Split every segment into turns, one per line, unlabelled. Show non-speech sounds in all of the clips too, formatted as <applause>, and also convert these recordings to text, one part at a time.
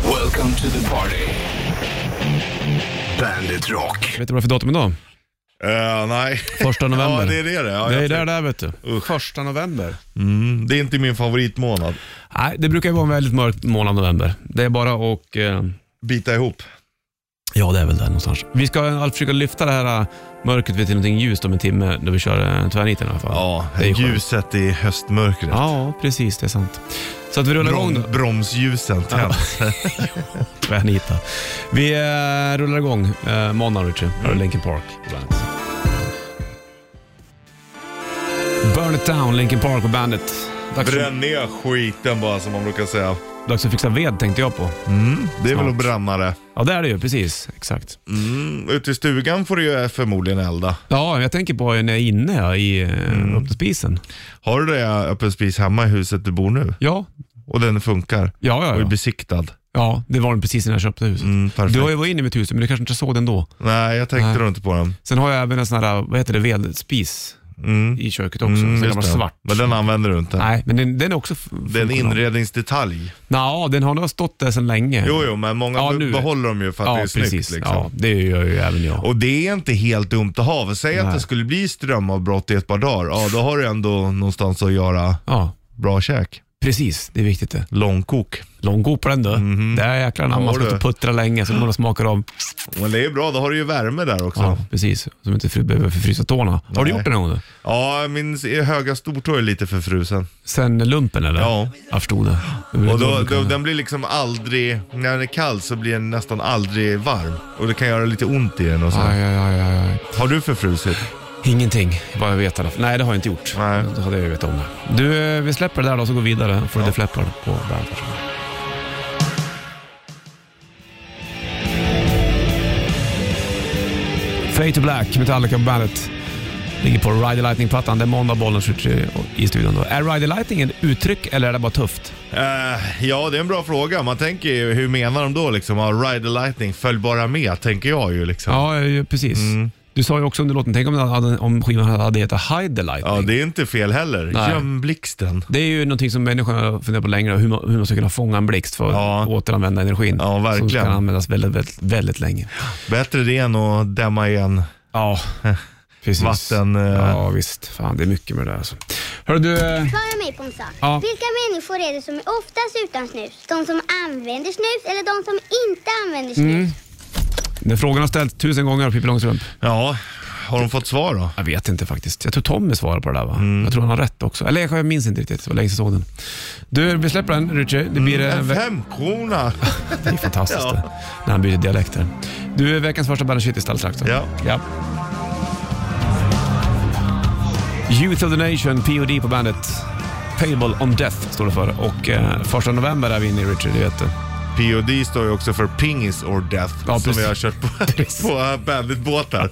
Welcome to the party. Bandit Rock.
Vet du vad det är för datum idag?
Eh, nej.
Första november.
<laughs> Ja, det är det det. Ja,
det är
jag
där
tror-
det är vet du. Första november.
Mm, det är inte min favoritmånad.
Nej, det brukar ju vara en väldigt mörk månad november. Det är bara och... Eh,
Bita ihop.
ja, det är väl där någonstans. Vi ska eh, försöka lyfta det här eh, mörkret till någonting ljust om en timme när vi kör eh, tvärniten i alla fall.
Ja,
det är ju skönt.
ljuset i höstmörkret.
Ja, precis. Det är sant. Så att vi rullar igång då.
Brom, bromsljusen
<laughs>
tänds.
Tvärnita. Vi eh, rullar igång eh, måndag, Richie. Här är Linkin Park. på Bandet. Burn it down, Linkin Park och Bandet. Dags,
Bränn ner skiten bara som man brukar säga.
dags att fixa ved tänkte jag på.
Mm, Det är
Snart.
väl att bränna det.
Ja, det är det ju. Precis. Exakt.
Mm, ute i stugan får du ju förmodligen elda.
Ja, jag tänker på när jag är inne ja, i mm. öppna spisen.
Har du det öppen spis hemma i huset du bor nu?
Ja,
Och den funkar?
ja, ja.
Och är
ja.
besiktad?
ja det var den precis när jag köpte huset.
Mm, perfekt.
Du har ju varit inne i mitt hus, men du kanske inte såg den då.
Nej, jag tänkte
Nej.
nog inte på den.
Sen har jag även en sån här, vad heter det, vedspis
Mm.
i köket också.
Mm,
Mm, så den
just
var
det.
svart.
Men den använder du inte?
Nej, men den, den är också...
Det är en inredningsdetalj.
Ja, den har nog stått där sedan länge.
Jo, jo, men många
Ja, nu-
behåller dem ju för att
ja,
det är snyggt.
precis.
Liksom.
Ja, det gör ju även jag.
Och det är inte helt dumt att ha. Säg att
Nej.
det skulle bli strömavbrott i ett par dagar. Ja, då har du ändå någonstans att göra
Ja,
bra käk.
precis. Det är viktigt det.
Långkok.
Lång god på den du. Det är jäklar anamma. Man
Mhm. Ja,
ska
du.
inte puttra länge så man smakar av.
Men det är ju bra, då har du ju värme där också.
Ja,
Ja,
precis. Som inte fri- behöver förfrysa tårna. Har du
Nej.
gjort det någon gång? då?
min s- höga stortå är lite förfrusen.
Sen lumpen eller?
Ja.
Jag förstod det.
Och då, då, den blir liksom aldrig, när den är kall så blir den nästan aldrig varm. Och det kan göra lite ont i den och så.
Aj, aj, aj, aj, aj.
Har du förfrusit?
Ingenting, vad jag vet i alla fall. Nej, det har jag inte gjort.
Nej.
Då hade jag ju vetat om det. Du, eh, vi släpper det där då så går vi vidare. Får ja. The Flappard på bandet. Fade to Black, Metallica på bandet. Ligger på Ride the Lightning-plattan. Det är måndag, bollen skjuter i studion. Då. Är Ride the Lightning ett uttryck eller är det bara tufft?
Eh, ja, det är en bra fråga. Man tänker ju, hur menar de då liksom? Ja, Ride the lightning, följ bara med, tänker jag ju liksom.
Ja, eh, precis. Du sa ju också under låten, tänk om, den hade- om skivan hade hetat Hide the Lightning.
Ja, det är inte fel heller.
Nej.
Göm blixten.
Det är ju någonting som människan har funderat på längre, hur man, hur man ska kunna fånga en blixt för att
Ja.
återanvända energin.
Ja, verkligen.
Som kan användas väldigt, väldigt, väldigt länge.
Bättre det än att dämma igen
Ja, <laughs> precis.
vatten. eh,
Ja, visst. Fan, det är mycket med det där alltså. Hörru du, eh,
Svara mig på en sak.
Ja.
<laughs> Vilka människor är det som är oftast utan snus? De som använder snus eller de som inte använder snus?
den frågan har ställts tusen gånger av Pippi Långstrump.
Ja, har de fått svar då?
Jag vet inte faktiskt. Jag tror Tommy svarar på det där va?
Mm.
Jag tror han har rätt också. Eller jag minns inte riktigt, det var länge sedan jag såg den. Du, vi släpper den Richie. Det blir eh,
En
ve-
femkrona! <laughs>
Det är fantastiskt det, när han byter dialekter. Du, veckans första Bandit Shit i Stalltraktorn.
Ja.
ja. Youth of the Nation, POD på bandet. Payable on Death står det för. Och eh, första november är vi inne i Richard, det vet
<laughs>
du.
POD står ju också för Pingis or Death,
Ja,
som vi
<laughs> precis.
har kört på, på
<laughs>
banditbåtar.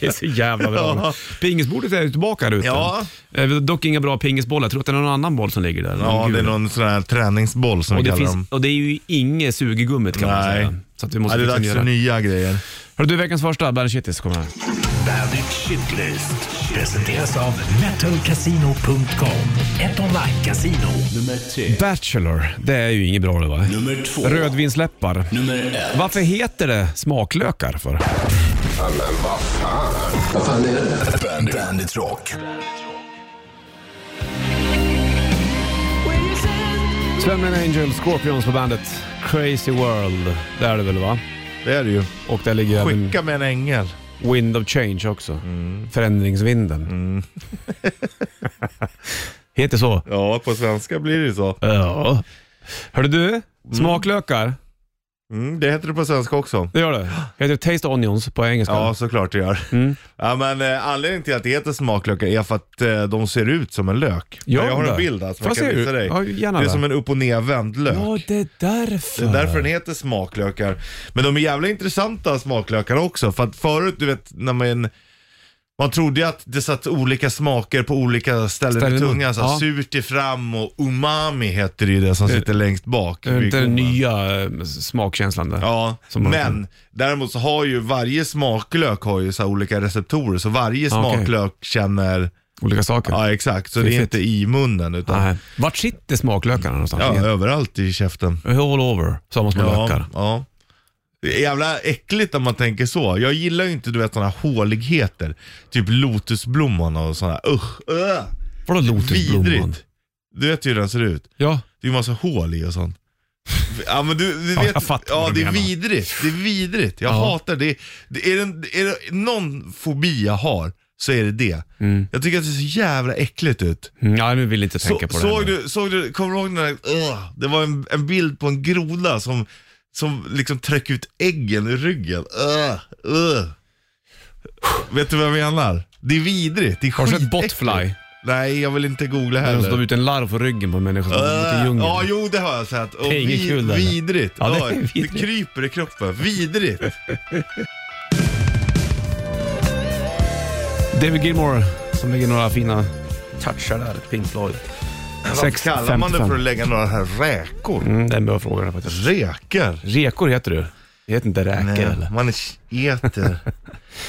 Det är så jävla bra.
Ja.
Pingisbordet är ju tillbaka här ute.
Ja.
Eh, dock inga bra pingisbollar. Jag tror att det är någon annan boll som ligger där.
Ja,
gul.
det är någon sån här träningsboll som
och
vi
det,
kallar dem.
finns, och det är ju inget sugegummit kan man
Nej.
säga. Så att vi liksom
Ja,
måste
det är
fixa
dags för
nya det.
nya grejer.
Hörru du, veckans första Bandit Shitis kommer här.
Bandit Shitlist.
Presenteras av metalcasino.com. Ett online-casino.
Nummer tre.
Bachelor, det är ju inget bra det va?
Nummer två.
Rödvinsläppar.
Nummer ett.
Varför heter det smaklökar för?
Bandit. Bandit Rock.
Svenmen Angel, Scorpions på bandet. Crazy World, det är det väl va?
Det är det ju.
Och där ligger även
Skicka Mm. med en ängel.
Wind of Change också. Förändringsvinden.
Mm.
<laughs> heter så?
Ja, på svenska blir det ju så.
Ja. Hörde du? Smaklökar,
Mm, det heter det på svenska också.
det gör det. Heter Taste Onions på engelska.
Ja, såklart det gör.
Mm.
<laughs> Ja, men, eh, anledningen till att det heter smaklökar är för att eh, de ser ut som en lök.
Gör
Men jag har
de
en
det?
bild här som
Får
jag
jag
kan
se
visa
hur-
dig.
Ja, gärna
det är
det.
som en upp och nedvänd lök.
Ja, det är därför.
Det är därför den heter smaklökar. Men de är jävla intressanta smaklökarna också. För att förut, du vet, när man, man trodde ju att det satt olika smaker på olika ställen
Ställen,
i tungan. Så här,
ja.
Surt är fram och umami heter det ju det som sitter längst bak.
Det är
vid
inte den
gommen.
nya eh, smakkänslan där.
Ja,
Som man
men
kan-
däremot så har ju varje smaklök har ju så här olika receptorer. Så varje
Ah, okej.
smaklök känner
olika saker.
Ja, exakt. Så det är
Fiffigt.
inte i munnen utan
Nej. Vart sitter smaklökarna någonstans?
ja,
Ingen-
överallt i käften.
All over, så man små lökar.
ja. Det är jävla äckligt om man tänker så. Jag gillar ju inte du vet sådana håligheter. Typ lotusblomman och sådana. Usch, öh,
Vadå lotusblomman?
vidrigt. Du vet ju hur den ser ut.
Ja.
Det är ju massa hål i och sånt. Ja men du, du
<laughs> Ja,
vet,
jag fattar
ja,
vad du
det är
menar.
vidrigt. Det är vidrigt. Jag
Ja.
hatar det. det, är, det en, är det någon fobi jag har så är det det. Jag tycker att det ser så jävla äckligt ut.
Mm, ja, nu vill Mm. jag inte
Så,
tänka på det.
såg,
heller.
du, såg du, kommer du ihåg den där, Ugh, det var en, en bild på en groda som, som liksom tryck ut äggen ur ryggen. Ugh, ugh. Vet du vad jag menar? Det är vidrigt. Det är
Har du sett
skitäckligt.
Botfly?
Nej, jag vill inte googla
Där de
heller.
slår ut en larv på ryggen på en människa som går ut i djungeln.
Äh, Ja, jo det har jag sett. Och
Det är inget
vi,
kul, eller?
vidrigt.
Ja, det är
Oj,
vidrigt.
Det kryper i kroppen. Vidrigt.
David Gilmore som lägger några fina touchar där. Pink Floyd.
Varför kallar man det för att lägga några här räkor?
Mm, det är en bra fråga där faktiskt.
Räkor?
Rekor heter du. Jag heter inte räkor eller?
man är äter.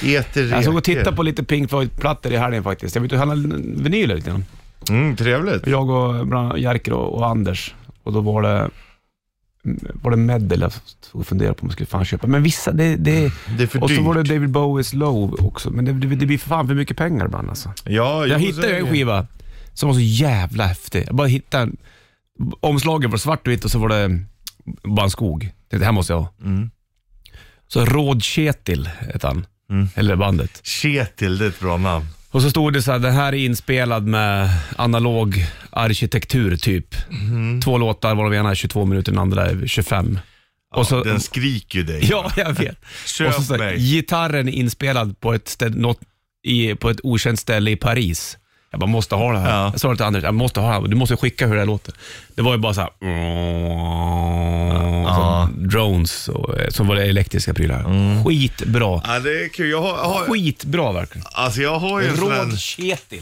äter räkor.
Jag såg och tittade på lite Pink Floyd-plattor i helgen faktiskt. Jag var ute och handlade vinyler lite grann.
Mm, trevligt.
Jag och bland annat Jerker och, och Anders. Och då var det, var det medel jag stod och funderade på om jag skulle fan köpa. Men vissa, det, det
Mm. Det är för
Och så
dyrt.
var det David Bowies Low också. Men det, det, det blir för fan för mycket pengar ibland alltså.
Ja,
Jag
jo,
hittade
så är
ju en
det.
skiva som var så jävla häftig. Jag bara hittade en, Omslaget var svart och vitt och så var det bara en skog. Jag Tänkte, det här måste jag ha.
Mm.
Så Råd Kjetil hette han.
Mm.
Eller bandet.
Kjetil, det är ett bra namn.
Och så stod det så här, den här är inspelad med analog arkitektur typ.
Mhm.
Två låtar varav ena är 22 minuter, den andra är 25. och så,
Den skriker ju dig.
<laughs> ja, jag vet.
Köp
och så, så här,
mig.
gitarren är inspelad på ett, ställe, något, i, på ett okänt ställe i Paris. Jag bara, måste ha det här.
Ja.
Jag sa det till Anders, jag måste ha det här. Du måste skicka hur det här låter. Det var ju bara så här,
Ja.
så, drones och, eh, som var det elektriska prylar.
Mm.
Skitbra.
Ja, det är kul. Jag har, jag har,
Skitbra verkligen.
alltså jag har ju en sån här...
Råd Kjetil.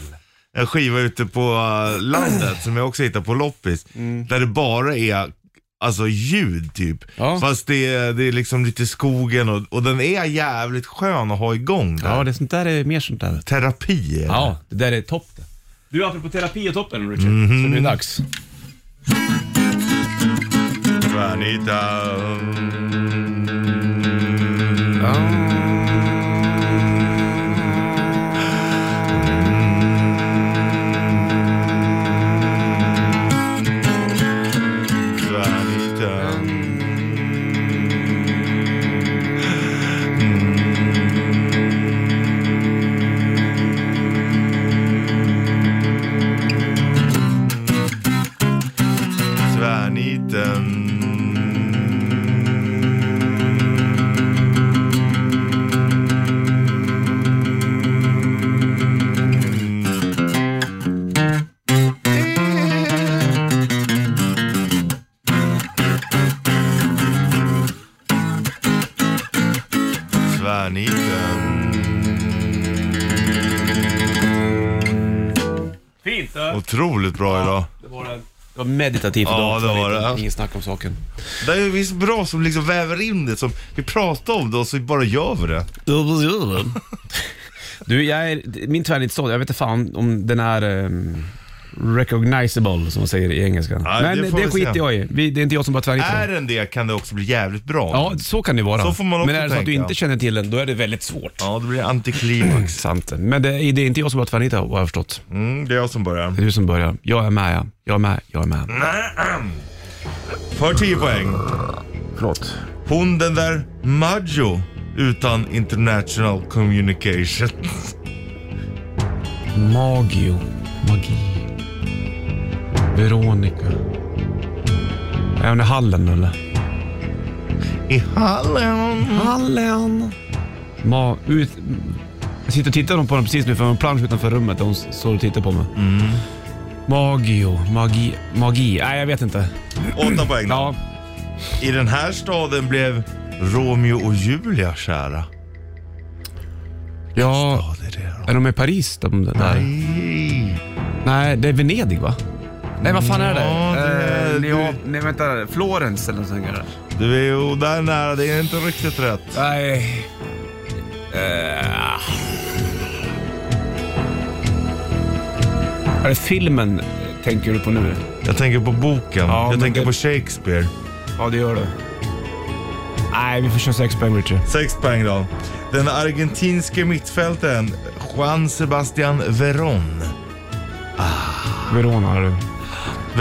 en skiva ute på eh, landet som jag också hittar på loppis.
Mm.
Där det bara är alltså ljud typ.
Ja.
Fast det är, det är liksom lite skogen och, och den är jävligt skön att ha igång där.
Ja, det sånt där är mer sånt där.
Terapi är det.
Ja, det där är Mm-hmm. topp det. Du, apropå terapi och toppen Richard, så det är dags.
Mm. Vanita. Vanita. Svaniten. Svaniten.
Fint det.
Otroligt bra idag.
Det var, det. Det var meditativt
Ja,
idag,
det var
lite.
det.
Inget snack om saken.
Det är visst bra som liksom väver in det. Som vi pratar om det och så bara gör vi det.
<laughs> Du, jag är, min tvärnitstånd, jag vet inte fan om den är um, recognizable som man säger i engelska.
Ja, det
Men det,
får vi
skiter
se.
jag i. Vi, det är inte jag som bara tvärnitar.
Är den det kan det också bli jävligt bra.
Liksom. Ja, så kan det vara.
Så får man också
Men är det så att du
tänka.
inte känner till den, då är det väldigt svårt.
Ja, det blir antiklimax.
Sant. Men det, det är inte jag som bara tvärnitar, har jag förstått.
Mm, det är jag som börjar.
Det är du som börjar. Jag är med, ja. Jag är med, jag är med.
För 10 poäng.
Förlåt.
Hon den där Maggio utan international communication.
Magio. Magi. Veronica. Är hon i hallen eller?
I hallen.
Hallen. Ma... Ut... Jag sitter och tittar på honom precis nu för en plansch utanför rummet där hon s- står och tittar på mig.
Mm.
Magio. Magi. Magi. Nej, jag vet inte.
8 poäng.
Ja.
I den här staden blev Romeo och Julia kära.
Ja.
Ja, det är det då.
Är de i Paris de där? Nej.
Nej.
det är Venedig va? Nej, vad fan är det?
Ja, det-
Eh, Leo- Nej, vänta. Florens eller något sånt där.
Du är ju där nära, det är inte riktigt rätt.
Nej. Eh, Är det filmen eh, tänker du på nu?
Jag tänker på boken.
Ja, men
jag tänker
det-
på Shakespeare.
Ja, det gör du. Nej, vi får köra sex poäng, Richard.
Sex poäng då. Den argentinske mittfältaren Juan Sebastian Verón.
Verona är du.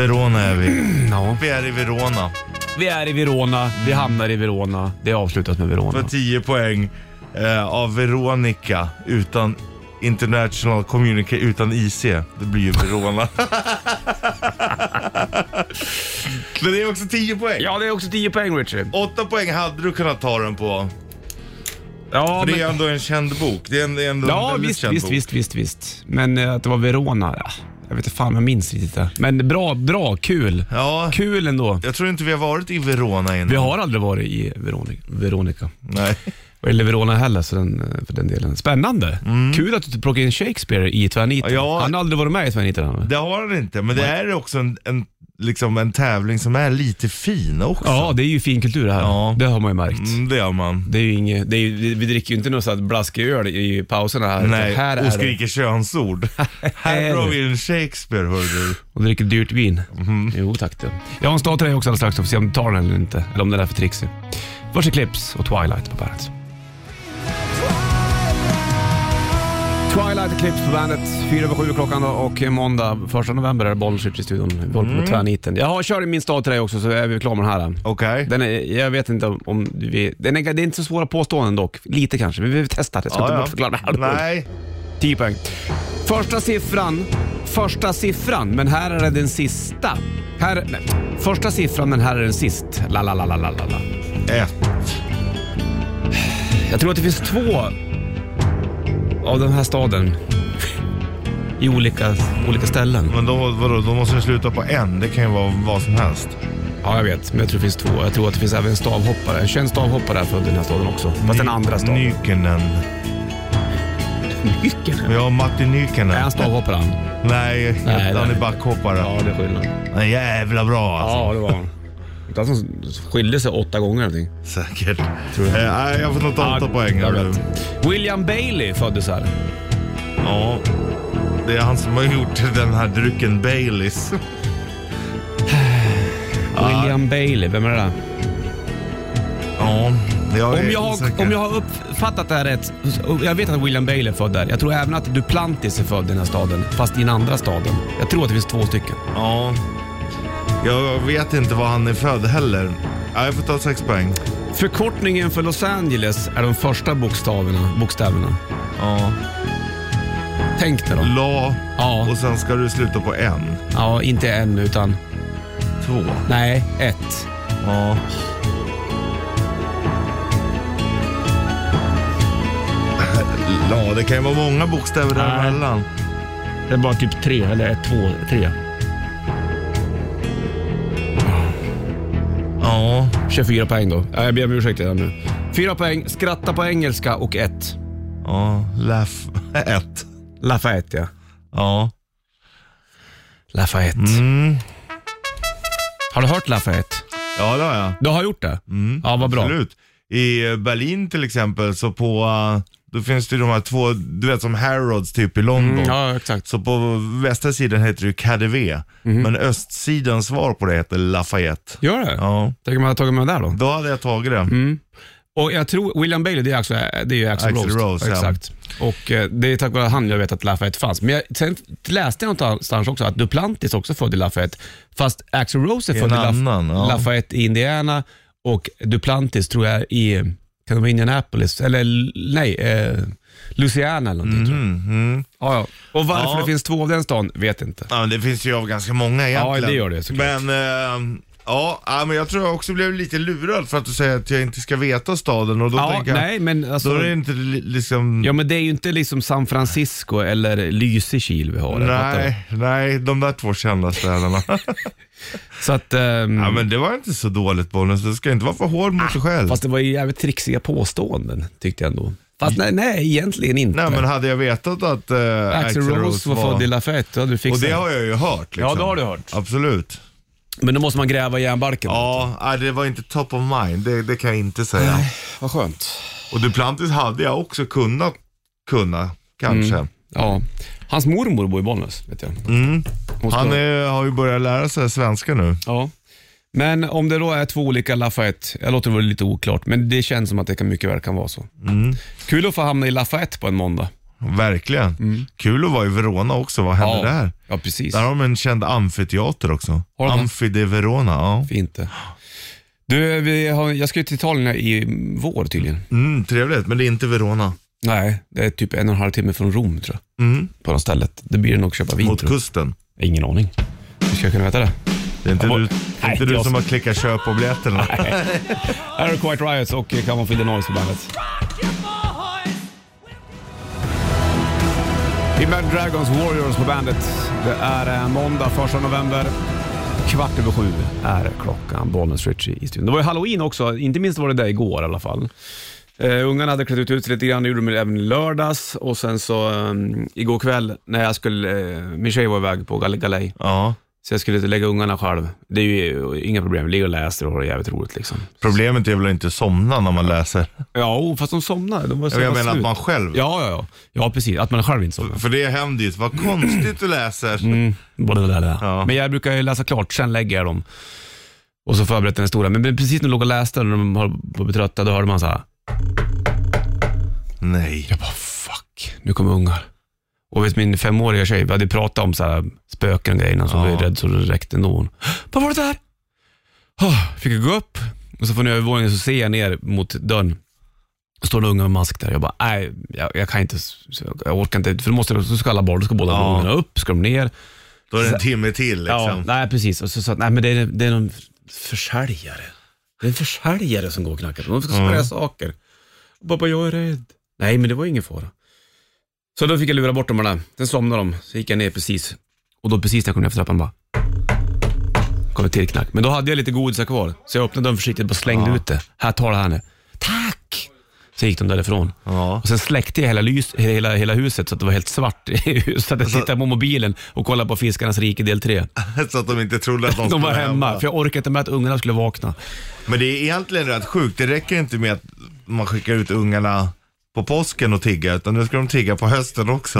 Verona är vi.
Ja.
Vi är i Verona.
Vi är i Verona, vi hamnar i Verona. Det är avslutat med
För
Verona.
10 poäng eh, av Veronica utan International Communica utan IC. Det blir ju Verona. <laughs> Men det är också 10 poäng.
Ja, det är också 10 poäng, Richard.
8 poäng hade du kunnat ta den på.
Ja,
För det är ändå en känd bok. Det är en, det är ändå en
Ja,
väldigt
visst,
känd
visst,
bok.
visst, visst, visst. Men eh, att det var Verona, ja, jag vet inte fan, jag minns riktigt det. Men bra, bra, kul.
Ja,
Kul ändå.
jag tror inte vi har varit i Verona innan.
Vi har aldrig varit i Veronica, Veronica.
Nej.
eller Verona heller så den, eh, för den delen. Spännande. Kul att du plockade in Shakespeare i tvärniten.
Mm. Ja.
Han har aldrig varit med i tvärniten. han.
Det har han inte, men det är också en, en, liksom en tävling som är lite fin också.
Ja, det är ju fin kultur det här.
Ja.
Det har man ju märkt.
Mm, det gör man.
Det är ju inget, det är, ju- vi dricker ju inte något sånt blaskig öl i pauserna här.
Nej,
här är
och
det. <laughs>
skriker könsord. Här har vi en Shakespeare, hör du.
Och dricker dyrt vin. Jo tack du. Jag har en stad till dig också alldeles strax, så får se om du tar den eller inte. Eller om den är för trixig. Först Eclipse och Twilight på bandet. Twilight Eclipse på bandet. Fyra över sju klockan då och måndag första november är det Bollenschips i studion. Vi håller på med tvärniten. Jag kör i min stad till dig också så är vi klara med den här.
Okej.
Den är, jag vet inte om- om vi... Den är, det är inte så svåra påståenden dock. Lite kanske. Vi, vi testar. Jag ska inte bortförklara det här.
Nej.
10 poäng. Första siffran, första siffran, men här är det den sista. Här, nej. Första siffran, men här är den sist. La, la, la, la, la, la. la.
Ett.
Jag tror att det finns två av den här staden i olika, olika ställen.
Men då, vadå, då måste vi sluta på en. Det kan ju vara vad som helst.
Ja, jag vet, men jag tror det finns två. Jag tror att det finns även en stavhoppare. En känd stavhoppare är född i den här staden också. Fast den andra staden.
Nykänen.
Nyckeln?
Vi har Martin
Är
Nykänen.
han stavhoppare han?
Nej,
Nej,
han
nej.
är backhoppare.
Ja, det är skillnad.
Han är jävla bra alltså.
Ja, det var han. Utan som skilde sig åtta gånger eller någonting.
Säkert. Eh, Nej, jag får nog ta åtta
Ja,
poäng
jag
här nu.
vet. William Bailey föddes här.
Ja. Det är han som har gjort den här drycken Baileys.
William Bailey, vem är det där?
Ja, jag är
Om jag, har,
osäker.
om jag har uppfattat det här rätt, jag vet att William Bailey är född där. Jag tror även att Duplantis är född i den här staden, fast i den andra staden. Jag tror att det finns två stycken.
Ja. Jag vet inte var han är född heller. Ja, jag får ta sex poäng.
Förkortningen för Los Angeles är de första bokstäverna. bokstäverna.
Ja.
Tänk dig dem.
La
Ja,
och sen ska du sluta på en.
ja, inte en utan...
Två.
Nej, ett.
Ja. La, det kan ju vara många bokstäver däremellan.
Det är bara typ tre, eller ett, två, tre.
Ja.
24 poäng då. Ja, Jag ber om ursäkt redan nu. Fyra poäng, skratta på engelska och ett.
Ja. Laugh. <laughs> Ett.
Lafayette, ja.
Ja.
Lafayette.
Mm.
Har du hört Lafayette?
Ja, det har jag.
Du har gjort det? ja, vad bra.
Mm. Absolut. I eh, Berlin till exempel så på, eh, då finns det ju de här två, du vet som Harrods typ i London.
Mm, ja, exakt.
Så på västra sidan heter det ju KDV,
Mhm.
men östsidans svar på det heter Lafayette.
Gör det?
Ja,
Tänk om man hade tagit med det där då.
då hade jag tagit det.
Mm. Och jag tror William Bailey, det är, också, det är ju Axel,
Axl Rose, ja.
Exakt. Och eh, det är tack vare han jag vet att Lafayette fanns. Men jag, sen läste jag någonstans också att Duplantis också född i Lafayette. Fast Axel Rose är
I
född
en
i Laf-
annan, ja.
Lafayette i Indiana och Duplantis tror jag i, kan det vara Indianapolis? Eller l- nej, eh, Louisiana eller någonting tror jag.
Mm, mm.
Ja, ja. Och varför
Ja.
det finns två av den stan vet inte.
Ja, men det finns ju av ganska många egentligen.
Ja, det gör det, såklart.
Men, eh, ja, ja, men jag tror jag också blev lite lurad för att du säger att jag inte ska veta staden och då
Ja,
tänker jag,
nej men alltså...
då är det inte li- liksom...
Ja men det är ju inte liksom San Francisco eller Lysekil vi har. där, fattar du?
Nej, nej, de där två
<laughs>
kända städerna.
Så att, ehm,
ja, men det var inte så dåligt Bollnäs, du ska inte vara för hård mot dig själv.
Ah, Fast det var ju jävligt trixiga påståenden tyckte jag ändå. Fast nej, nej egentligen inte.
Mm. Nej, men hade jag vetat att eh,
Axel Rose var född i Lafayette, då hade du
Och
fixat
det
det.
har jag ju hört. Liksom.
Ja, det har du hört.
Absolut.
Men då måste man gräva i järnbarken.
Ja, nej, det var inte top of mind. Det, det kan jag inte säga.
Vad skönt. Mm.
Och Duplantis hade jag också kunnat kunna, kanske.
Ja. Hans mormor bor i Bollnäs, vet jag.
Mm.
Hon ska-
Han är, har ju börjat lära sig svenska nu.
Ja. Men om det då är två olika Lafayette, jag låter det vara lite oklart, men det känns som att det kan mycket väl kan vara så.
Mm.
Kul att få hamna i Lafayette på en måndag.
Verkligen. Kul att vara i Verona också. Vad hände där?
Mm. Ja, precis.
Där har de en känd amfiteater också.
Har de det?
Amfi de Verona, ja.
Fint det. Du, vi har, jag ska ju till Italien här i vår tydligen.
Mm, trevligt, men det är inte Verona.
Nej, det är typ en och en halv timme från Rom tror jag.
Mm.
På något ställe. Det blir det nog köpa vin
Mot
tror
kusten.
jag. Ingen aning. Hur ska jag kunna veta det?
Det är inte
Ja,
du,
nej,
inte du
jag-
som har klickat köp
<laughs>
på biljetterna.
Här är Quiet Riot och Come On Feel The Noise på bandet. Imagine Dragons Warriors på bandet. Det är eh, måndag 1 november. Kvart över sju är klockan. Bollnäs Ritchie i studion. Det var ju halloween också, inte minst var det det igår i alla fall. Eh, ungarna hade klätt ut sig lite grann, det gjorde de även i lördags och sen så eh, igår kväll när jag skulle, eh, min tjej var iväg på gal- galej,
Ja.
så jag skulle lägga ungarna själv. Det är ju eh, inga problem, ligger och läser och har det jävligt roligt liksom.
Problemet är väl att inte somna när man läser.
Ja, oh, fast de somnade. De var så
Jag,
jävla
menar att
slut.
man själv.
Ja, ja, ja. Ja, precis. Att man själv inte somnar.
För det händer ju. Vad konstigt du läser.
Mm. Blablabla.
Mm. Ja.
Men jag brukar ju läsa klart, sen lägger jag dem. Och så förberett den stora. Men precis när de låg och läste, när de höll på att bli trötta, då hörde man så här.
Nej.
Jag bara fuck, nu kommer ungar. Och vet min femåriga tjej, vi hade pratat om så här, spöken och grejer innan, så hon
Ja.
blev rädd så det räckte ändå. Hon, Vad var det där? Oh, fick jag gå upp och så från övervåningen så ser jag ner mot dörren. Står det unga med mask där. Jag bara, nej, jag, jag kan inte, jag orkar inte. För då måste, så ska alla barn, då ska båda
Ja.
ungarna upp, ska de ner.
Då är det en timme till liksom.
Ja, nej precis. Och så sa jag, nej men det är, det är någon försäljare. Det är en försäljare som går och knackar på. De
Mm.
ska sälja saker. Och pappa, jag är rädd. Nej, men det var ingen fara. Så då fick jag lura bort dem alla. Sen somnade de. Så gick jag ner precis. Och då precis när jag kom ner för trappan bara... Kom ett till knack. Men då hade jag lite godisar kvar. Så jag öppnade dörren försiktigt och bara slängde ut det. Här, tar det här nu. Tack! Så gick de därifrån.
Ja.
Och sen släckte jag hela, lys, hela, hela huset så att det var helt svart i huset. Så att jag
Alltså-
tittade på mobilen och kollade på Fiskarnas rike del 3.
Så att de inte trodde att
<laughs>
de,
De var
skulle
hemma, för jag orkade inte med att ungarna skulle vakna.
Men det är egentligen rätt sjukt. Det räcker inte med att man skickar ut ungarna på påsken och tigga, utan nu ska de tigga på
<laughs>
hösten också.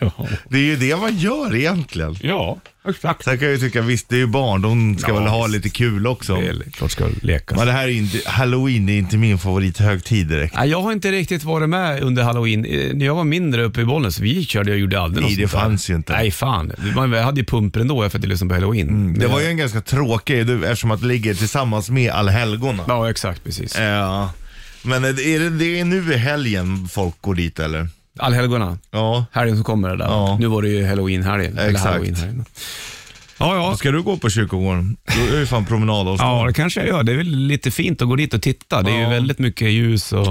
Ja,
Det är ju det man gör egentligen.
ja exakt.
Sen kan jag ju tycka, visst det är ju barn, de ska
Ja,
väl ha
visst.
lite kul också.
Det är klart ska leka.
Men det här är ju inte, halloween det är inte min favorithögtid direkt.
Nej, jag har inte riktigt varit med under halloween. Eh, När jag var mindre uppe i Bollnäs, vi körde och gjorde aldrig
Nej,
något
det
sånt där.
fanns ju inte. Mm,
Nej, fan. Man hade ju pumper ändå efter att det lyssnade på halloween.
Det var ju en ganska tråkig, du- eftersom att det ligger tillsammans med allhelgona.
Ja, exakt. Precis.
Ja. Men är det, är det, det är nu i helgen folk går dit eller?
Allhelgona,
Ja.
helgen som kommer det där.
Ja.
Nu var det ju halloween-helgen. eller
Exakt.
Halloween-helgen. Ja, ja.
Ska du gå på kyrkogården? Du är ju fan promenadavstånd.
Ja, det kanske jag gör. Det är väl lite fint att gå dit och titta. Det är ju
Ja.
väldigt mycket ljus och...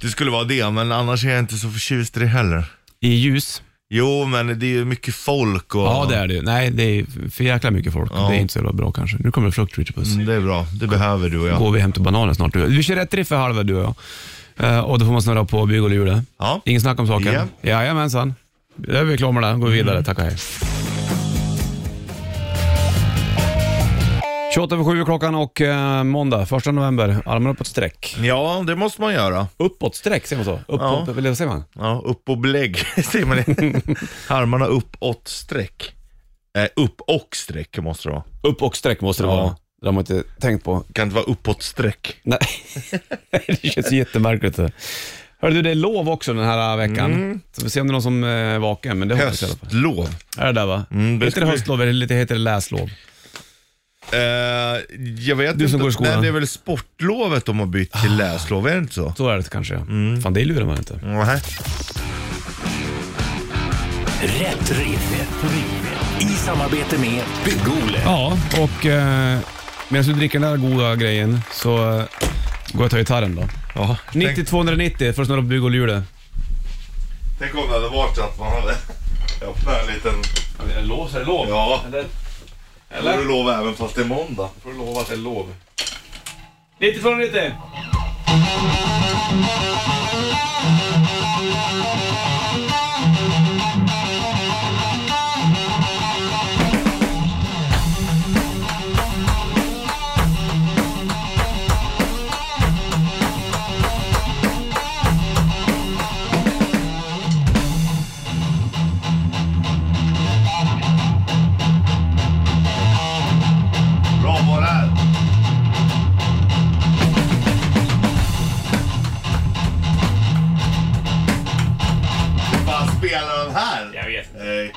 Det skulle vara det, men annars är jag inte så förtjust i det heller.
I ljus.
Jo, men det är ju mycket folk och...
Ja, det är det ju. Nej, det är för jäkla mycket folk.
Ja.
Det är inte så jävla bra kanske. Nu kommer det frukt Richard Puss.
Mm, det är bra. Det behöver du och jag.
Går vi hem till bananen snart du. Vi kör rätt riff för halva du och jag. Eh, och då får man snurra på bygg och lure.
Ja.
Ingen snack om saken.
Ja. Mm.
Jajamensan. Då är vi klara med det. Går vi vidare. Tack och hej. 28 över 7 klockan och eh, måndag, 1 november. Armarna uppåt streck.
Ja, det måste man göra.
Uppåt streck, säger man så? Upp,
Ja.
upp, eller vad säger man?
Ja, upp och blägg, <laughs> säger
<laughs>
man det. Armarna uppåt streck. Eh, upp och streck måste det vara.
Upp och streck måste det
Ja.
vara. Det har man inte tänkt på.
Kan inte vara uppåt streck.
Nej, <laughs> det känns ju jättemärkligt. det. Hörru du, det är lov också den här veckan. Så vi får se om det är någon som eh, är vaken. Men det hoppas jag i alla fall.
Höstlov.
Är det där va?
Mm, det
heter
ska
det
vi-
höstlov eller lite- heter det läslov?
Eh, jag vet
Du som
inte.
går i skolan. Ah.
Nej, det är väl sportlovet de har bytt till läslov, är det inte så?
Så är det kanske ja. Fan, det lurar man inte.
Nej.
Rätt riff. Rätt riff. I samarbete med Bygg-Ole.
Ja, och eh, medan du dricker den där goda grejen så eh, går jag och tar gitarren då.
Ja, tänk,
90-290 för att snurra på bygg och hjulet.
tänk om det hade varit så att man hade öppnat en liten...
Är det lov så är det lov.
Ja.
Eller?
får du lova även fast det är måndag.
får du lova att det är lov. 90-290! Hej!
Hej.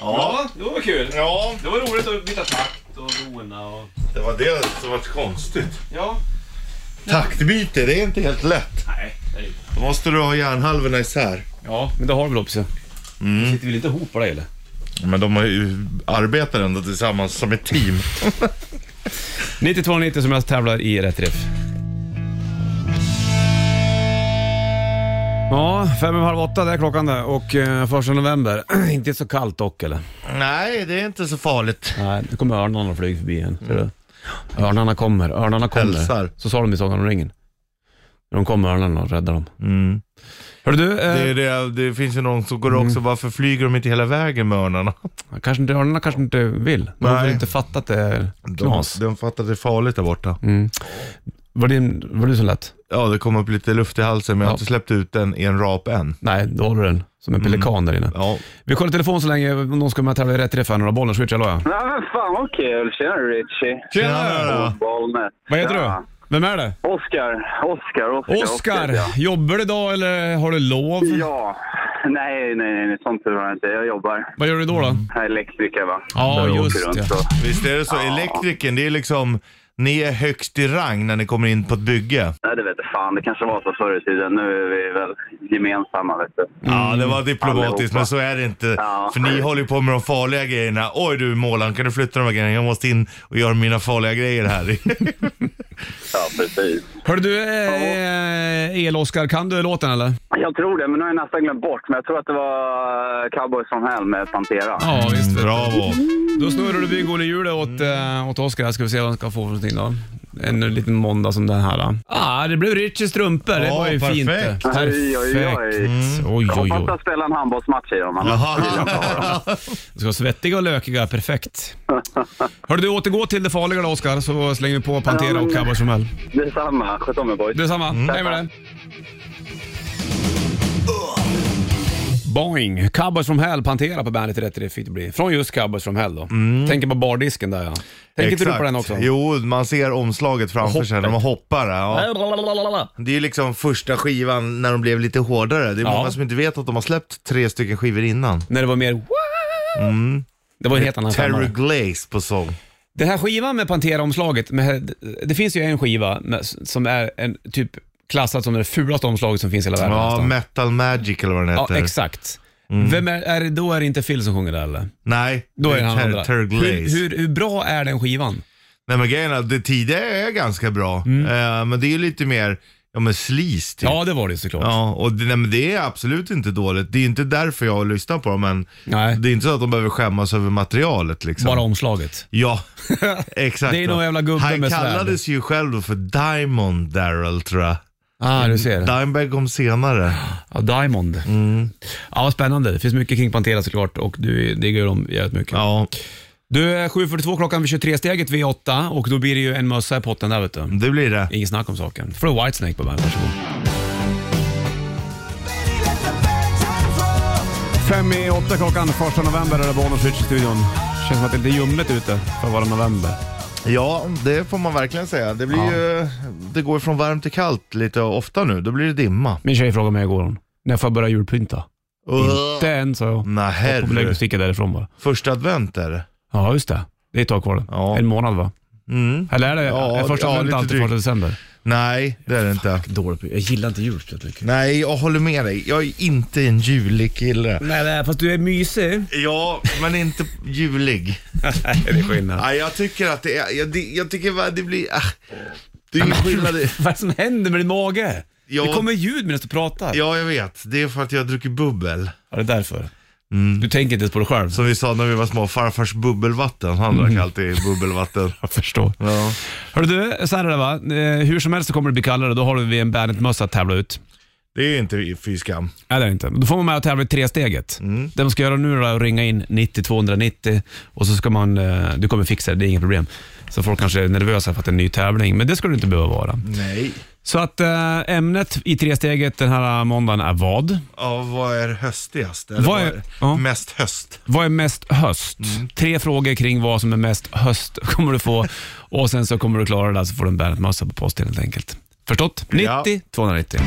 Ja.
det var kul.
ja,
Det var roligt att byta takt och dona och...
det var det som var konstigt.
Ja.
Taktbyte, det är inte helt lätt.
Nej,
Då måste du ha hjärnhalvorna isär.
Ja, men det har vi väl också. Sitter vi lite ihop på det eller?
Men de har ju arbetar ändå tillsammans som ett team.
9290 som jag tävlar i Rätt Riff. Ja, fem över halv åtta, det är klockan där och eh, första november. <clears throat> inte så kallt dock eller?
Nej, det är inte så farligt.
Nej, nu kommer örnarna och flyger förbi igen. Ser du? Örnarna kommer, örnarna kommer.
Hälsar.
Så sa de i Sagan om ringen. De kommer örnarna och räddar dem. Mm. Hörru du, eh,
Det, är det, det finns ju någon som går också, varför flyger de inte hela vägen med örnarna?
kanske inte, örnarna kanske inte vill. De har
Nej.
väl inte fattat att det är
De,
knas.
de fattar att det är farligt där borta.
Var, det, var du så lätt?
Mm. Ja, det kom upp lite luft i halsen men jag har
Ja.
inte släppt ut den i en rap än.
Nej, då har du den. Som en pelikan där inne.
Ja,
Vi kollar telefon så länge om någon ska med och tävla i rätt träff här. Några bollar, switch, hallå ja.
Nej men fan vad kul. Tjena Richie.
Tjena!
Bollnäs.
Vad heter
Tjena.
du? Vem är det?
Oscar. Oscar. Oscar.
Oskar!
ja.
Jobbar du idag eller har du lov?
Ja. Nej, nej, nej, nej. Sånt tyvärr inte. Jag jobbar.
Vad gör du då? då?
Jag är elektriker va?
Ja,
Så Mm. jag åker
just
runt
det.
och-
Visst är det så? Elektrikern, det är liksom, ni är högst i rang när ni kommer in på ett bygge.
Nej, det vet jag fan. Det kanske var så förr i tiden. Nu är vi väl gemensamma vet du.
Ja, det var diplomatiskt
Allihopa.
men så är det inte.
Ja.
För ni håller ju på med de farliga grejerna. Oj du målaren, kan du flytta de här grejerna? Jag måste in och göra mina farliga grejer här. <laughs>
Ja, precis.
Hörru du, eh, El-Oskar, kan du låten eller?
Jag tror det, men nu har jag nästan glömt bort. Men jag tror att det var Cowboys from Hell med Pantera.
Ja, visst.
Bravo!
Då snurrar du bygghålehjulet åt, eh, åt Oskar här, ska vi se vad han ska få för någonting då. En liten måndag som den här. då. Ah, det blev Richies strumpor. det
Ja,
var ju fint. eh.
perfekt.
Oj, oj, oj.
Perfekt. Mm, Oj, oj,
Hoppas
oj.
jag spelar en handbollsmatch i dem. annars
Jaha.
vill jag inte ha dem.
De ska vara svettiga och lökiga. <laughs> Perfekt. Hörru du, återgå till det farliga då Oskar, så slänger vi på Pantera och Cowboys from Hell.
Detsamma. Sköt om er boys.
Detsamma.
Mm.
Hej med dig. Boing! Cowboys from Hell, Pantera på bandet rätt det fick det bli. Från just Cowboys from Hell då. Tänker på bardisken där ja. Tänker inte du på
Mm. Exakt.
den också?
Jo, man ser omslaget framför sig när de hoppar. Ja. Det är ju liksom första skivan när de blev lite hårdare. Det är
Ja.
många som inte vet att de har släppt tre stycken skivor innan.
När det var mer mm. Det var en helt annan
Mm. Terry
femma.
Glaze på sång.
Den här skivan med Pantera-omslaget, med- det finns ju en skiva med, som är en typ klassad som det fulaste omslaget som finns i hela världen.
Ja,
nästan.
Mm. Metal Magic eller vad den
ja
heter.
exakt. Vem är, är det, då är det inte Phil som sjunger där eller?
Nej,
Då är det han
Ter-
andra.
Terry Glaze. Typ.
Hur, hur, hur bra är den skivan?
Nej men grejen är att det tidiga är ganska bra. Eh, men det är ju lite mer, ja men sleaze typ.
Mm. Ja, det var det såklart.
Ja, och det, nej, men det är absolut inte dåligt. Det är inte därför jag lyssnar på dem, men
Nej.
det är inte så att de behöver skämmas över materialet liksom.
Bara
<laughs>
omslaget.
Ja, exakt.
Det är någon jävla gubbe
Han
med svärd.
kallades ju själv då för Diamond Daryl tror jag.
Ah, du ser.
Dimebag kom senare.
ja, Diamond.
Mm.
Ja, vad spännande. Det finns mycket kring Pantera såklart och du diggar ju dem jävligt mycket.
Ja,
Du, är 7.42 klockan vid 23-steget V8 och då blir det ju en mössa i potten där vet du.
det blir det.
Ingen snack om saken. Från Whitesnake på bandet, varsågod. Fem i åtta klockan, första november är det Bonus i studion. Känns som att det är lite ljummet ute för att vara november.
Ja, det får man verkligen säga. Det, blir
Ja.
ju, det går från varmt till kallt lite ofta nu. Då blir det dimma.
Min tjej frågade mig igår, hon, när får jag börja julpynta? Inte än, sa jag.
Nej,
Jag får
herre.
sticka därifrån bara.
Första advent är det.
Ja, just det. Det är ett tag kvar då.
Ja.
En månad va?
Mm.
Eller är det
Ja,
är första
ja,
advent
lite
alltid
drygt.
första december?
Nej, det är det inte.
Dåligt. Jag gillar inte jul så mycket.
Nej, jag håller med dig. Jag är inte en julig kille.
Nej, nej, eh, fast du är mysig.
Ja, men inte julig.
<laughs> det är skillnad.
Nej, jag tycker att det är... Jag, det, jag tycker vad det blir... Ah, det är ju skillnad. i-
Vad är det som händer med din mage?
Ja.
Det kommer ljud medan du pratar.
Ja, jag vet. Det är för att jag har druckit bubbel.
Ja, det är därför. Du tänker inte ens på det själv.
Som vi sa när vi var små, farfars bubbelvatten. Han drack alltid bubbelvatten.
Jag förstår.
Mm. <laughs> Ja.
Hörru du, så här är det va. Eh, hur som helst så kommer det bli kallare. Då har vi en Bandet-mössa att tävla ut.
Det är inte fy skam.
Nej, det är det inte. Då får man med och tävla i tresteget. Det man ska göra nu är att ringa in 90 290 och så ska man, eh, du kommer fixa det, det är inget problem. Så folk kanske är nervösa för att det är en ny tävling, men det ska du inte behöva vara.
Nej.
Så att eh, ämnet i tresteget den här måndagen är vad?
Ja, vad är höstigast? Eller
Vad
vad
är-
är,
ja.
mest höst?
Vad är mest höst?
Mm.
Tre frågor kring vad som är mest höst <laughs> kommer du få och sen så kommer du klara det där så får du en Bandet-mössa på posten helt enkelt. Förstått? 90
Ja.
290.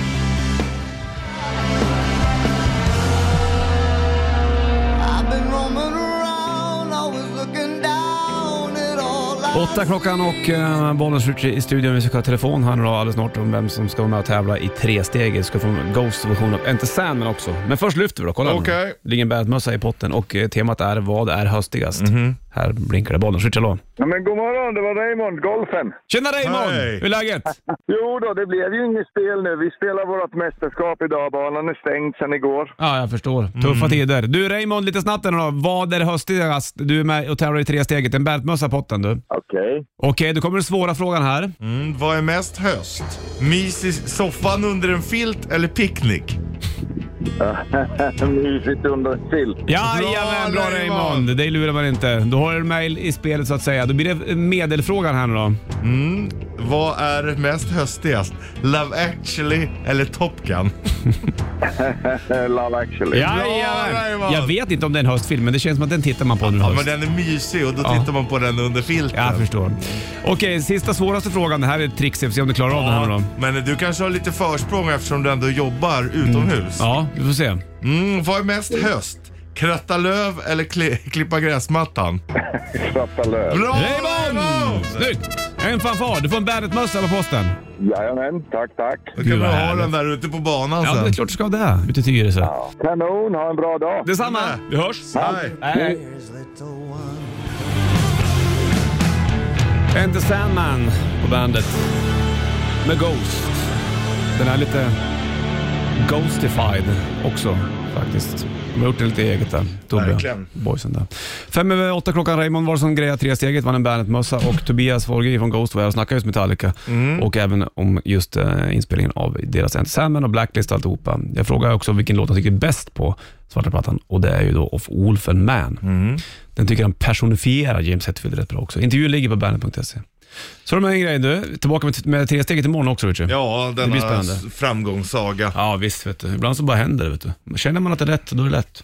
Åtta klockan och eh, bollen skjuts i studion. Vi ska ha telefon här nu då alldeles snart om vem som ska vara med och tävla i tre steg. Vi ska få en Ghost-version av, inte Sandman också. Men först lyfter vi då, kolla. nu.
Okej.
Det ligger en bärmössa i potten och eh, temat är Vad är höstigast?
Mhm.
Här blinkar det bollen. Skjuts, hallå.
Ja, men god morgon, det var Raymond, golfen.
Tjena Raymond!
Hej.
Hur är läget?
Jo då, det blev ju inget spel nu. Vi spelar vårt mästerskap idag. Banan är stängd sedan igår.
Ja, jag förstår. Tuffa
Mm.
tider. Du Raymond, lite snabbt här nu då. Vad är höstigast? Du är med och tävlar i tre steget. En bärmössa i potten du. Okej,
Okej.
då kommer den svåra frågan här.
Mm, vad är mest höst? Mys i soffan under en filt eller picknick?
Mysigt under en filt.
Jajamän, bra
Bra,
Raymond!
Raymond.
Dig lurar man inte. Då har du mail i spelet så att säga. Då blir det eh, medelfrågan här nu då.
Vad är mest höstigast? Love actually eller Top Gun?
Eh, Love actually.
Jajamän!
Raymond.
Jag vet inte om det är en höstfilm, men det känns som att den tittar man på nu
Ja,
höst.
men den är mysig och då
Ja.
tittar man på den under filten.
Jag förstår. Okej, sista svåraste frågan. Det här är ett trick, se om du klarar av den här nu då.
Men du kanske har lite försprång eftersom du ändå jobbar utomhus.
Mm. Ja, vi får se.
Mm, vad är mest höst? Kratta löv eller kli- klippa gräsmattan?
Svarta löv.
Bra
Raymond!
Raymond!
Snyggt! En fanfar. Du får en Bandet-mössa på posten.
Jajamän, tack, tack.
Då kan
Gud,
du
vad
ha
härligt.
den där ute på banan
Ja, det är
sen.
klart du ska det. Ute i Tyresö.
Kanon, ha en bra dag.
Detsamma!
Nej.
Vi hörs!
Nej.
Nej. Inte Sandman på bandet. Med Ghost. Den är lite Ghostified också faktiskt. De har gjort det lite eget där. Tobias.
Verkligen.
Boysen där. Fem över åtta klockan, Raymond var som grejade tre steget, vann en Bandet-mössa och Tobias Forge från Ghost var här och snackade just Metallica och även om just eh, inspelningen av deras Enter Sandman och Blacklist och alltihopa. Jag frågade också vilken låt han tycker bäst på svarta plattan och det är ju då Of Wolf and Man. Den tycker han personifierar James Hetfield rätt bra också. Intervjun ligger på bandet.se. E. Så har de här en grej du, tillbaka med, med tre steget imorgon också Richard.
Ja,
Det blir
denna
spännande.
framgångssaga.
Ja visst vet du, ibland så bara händer det vet du. Känner man att det är rätt, då är det lätt.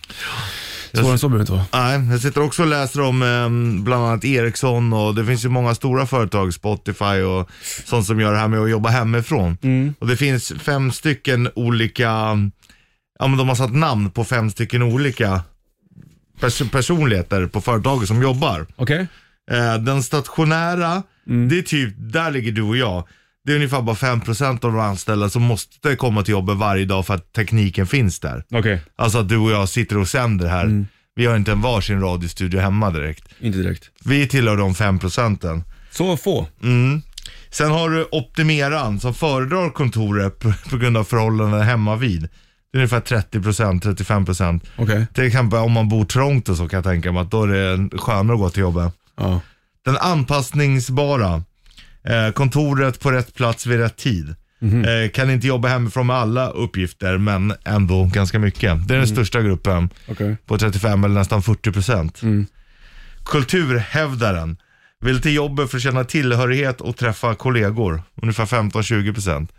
Svårare än så behöver det inte vara.
Nej, jag sitter också och läser om eh, bland annat Ericsson och det finns ju många stora företag, Spotify och sånt som gör det här med att jobba hemifrån. Och det finns fem stycken olika, ja men de har satt namn på fem stycken olika pers- personligheter på företaget som jobbar.
Okej?
Eh, den stationära, det är typ, där ligger du och jag. Det är ungefär bara 5% av de anställda som måste komma till jobbet varje dag för att tekniken finns där.
Okej.
Alltså att du och jag sitter och sänder här. Vi har inte en varsin radiostudio hemma direkt.
Inte direkt.
Vi tillhör de 5 procenten.
Så få?
Mm. Sen har du optimeran som föredrar kontoret p- på grund av förhållanden hemma vid. Det är ungefär 30 procent, 35 procent.
Okej.
Till exempel om man bor trångt och så kan jag tänka mig att då är det skönare att gå till jobbet.
Ja.
Den anpassningsbara. Eh, kontoret på rätt plats vid rätt tid.
Mhm.
Eh, kan inte jobba hemifrån med alla uppgifter men ändå ganska mycket. Det är den största gruppen
Mm. Okej. Mm.
på 35 eller nästan 40 procent. Kulturhävdaren vill till jobbet för att känna tillhörighet och träffa kollegor, ungefär 15-20 procent.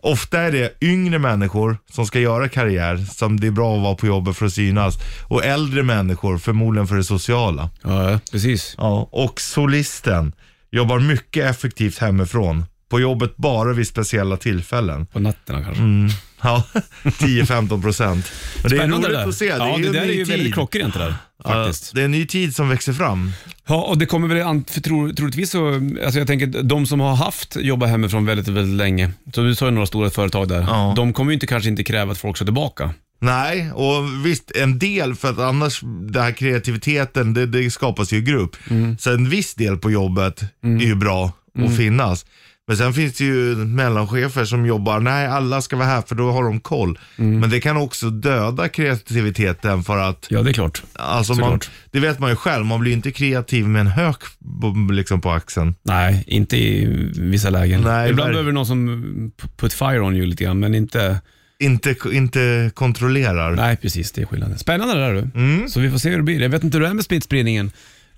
Ofta är det yngre människor som ska göra karriär, som det är bra att vara på jobbet för att synas. Och äldre människor, förmodligen för det sociala.
Ja, ja, precis.
Ja, och solisten jobbar mycket effektivt hemifrån. På jobbet bara vid speciella tillfällen.
På nätterna kanske.
<laughs> Ja, 10-15 procent. Men Mm. det är
Spännande
roligt
där.
att se.
ja,
ju
det
en
där är
ny
ju
tid.
väldigt klockrent det där. Faktiskt.
Ja, det är en ny tid som växer fram.
Ja, och det kommer väl an, för tro, troligtvis så, alltså jag tänker de som har haft jobba hemifrån väldigt, väldigt länge, så du sa ju några stora företag där,
Ja.
de kommer ju inte, kanske inte kräva att folk ska tillbaka.
Nej, och visst en del för att annars den här kreativiteten det,
Mm.
det skapas ju i grupp. Så en viss del på jobbet är ju bra att finnas. Men sen finns det ju mellanchefer som jobbar, nej alla ska vara här för då har de koll.
Mm.
Men det kan också döda kreativiteten för att,
Ja, det är klart.
alltså man,
Såklart.
det vet man ju själv, man blir ju inte kreativ med en hök på- liksom på axeln.
Nej, inte i vissa lägen.
Nej,
Ibland
verk-
behöver någon som p- put fire on you lite grann, men inte...
Inte, inte kontrollerar.
Nej, precis. Det är skillnaden. Spännande det där du.
Mm.
Så vi får se hur det blir. Jag vet inte hur det är med smittspridningen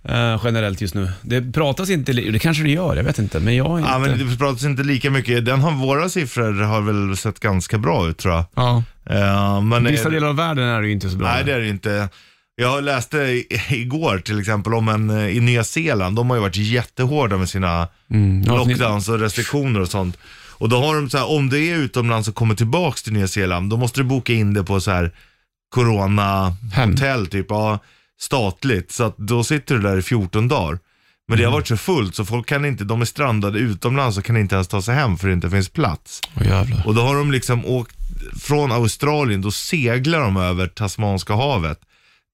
eh, generellt just nu. Det pratas inte, li- det kanske det gör, jag vet inte. Men jag är inte...
Ja, men det pratas inte lika mycket. Den har, våra siffror har väl sett ganska bra ut tror jag.
ja.
Eh, men
I vissa delar av världen är det ju inte så bra.
Nej, det är det inte. Jag läste i- <laughs> igår till exempel om en eh, i Nya Zeeland. De har ju varit jättehårda med sina
Mm, ja,
lockdowns och restriktioner och sånt. Och då har de så här, om det är utomlands och kommer tillbaks till Nya Zeeland, då måste du boka in det på så här
Hem.
corona-hotell typ, ja, statligt. Så att då sitter du där i 14 dagar. Men det har
Mm.
varit så fullt så folk kan inte, de är strandade utomlands och kan inte ens ta sig hem för det inte finns plats.
Åh, jävlar.
Och då har de liksom åkt från Australien, då seglar de över Tasmanska havet.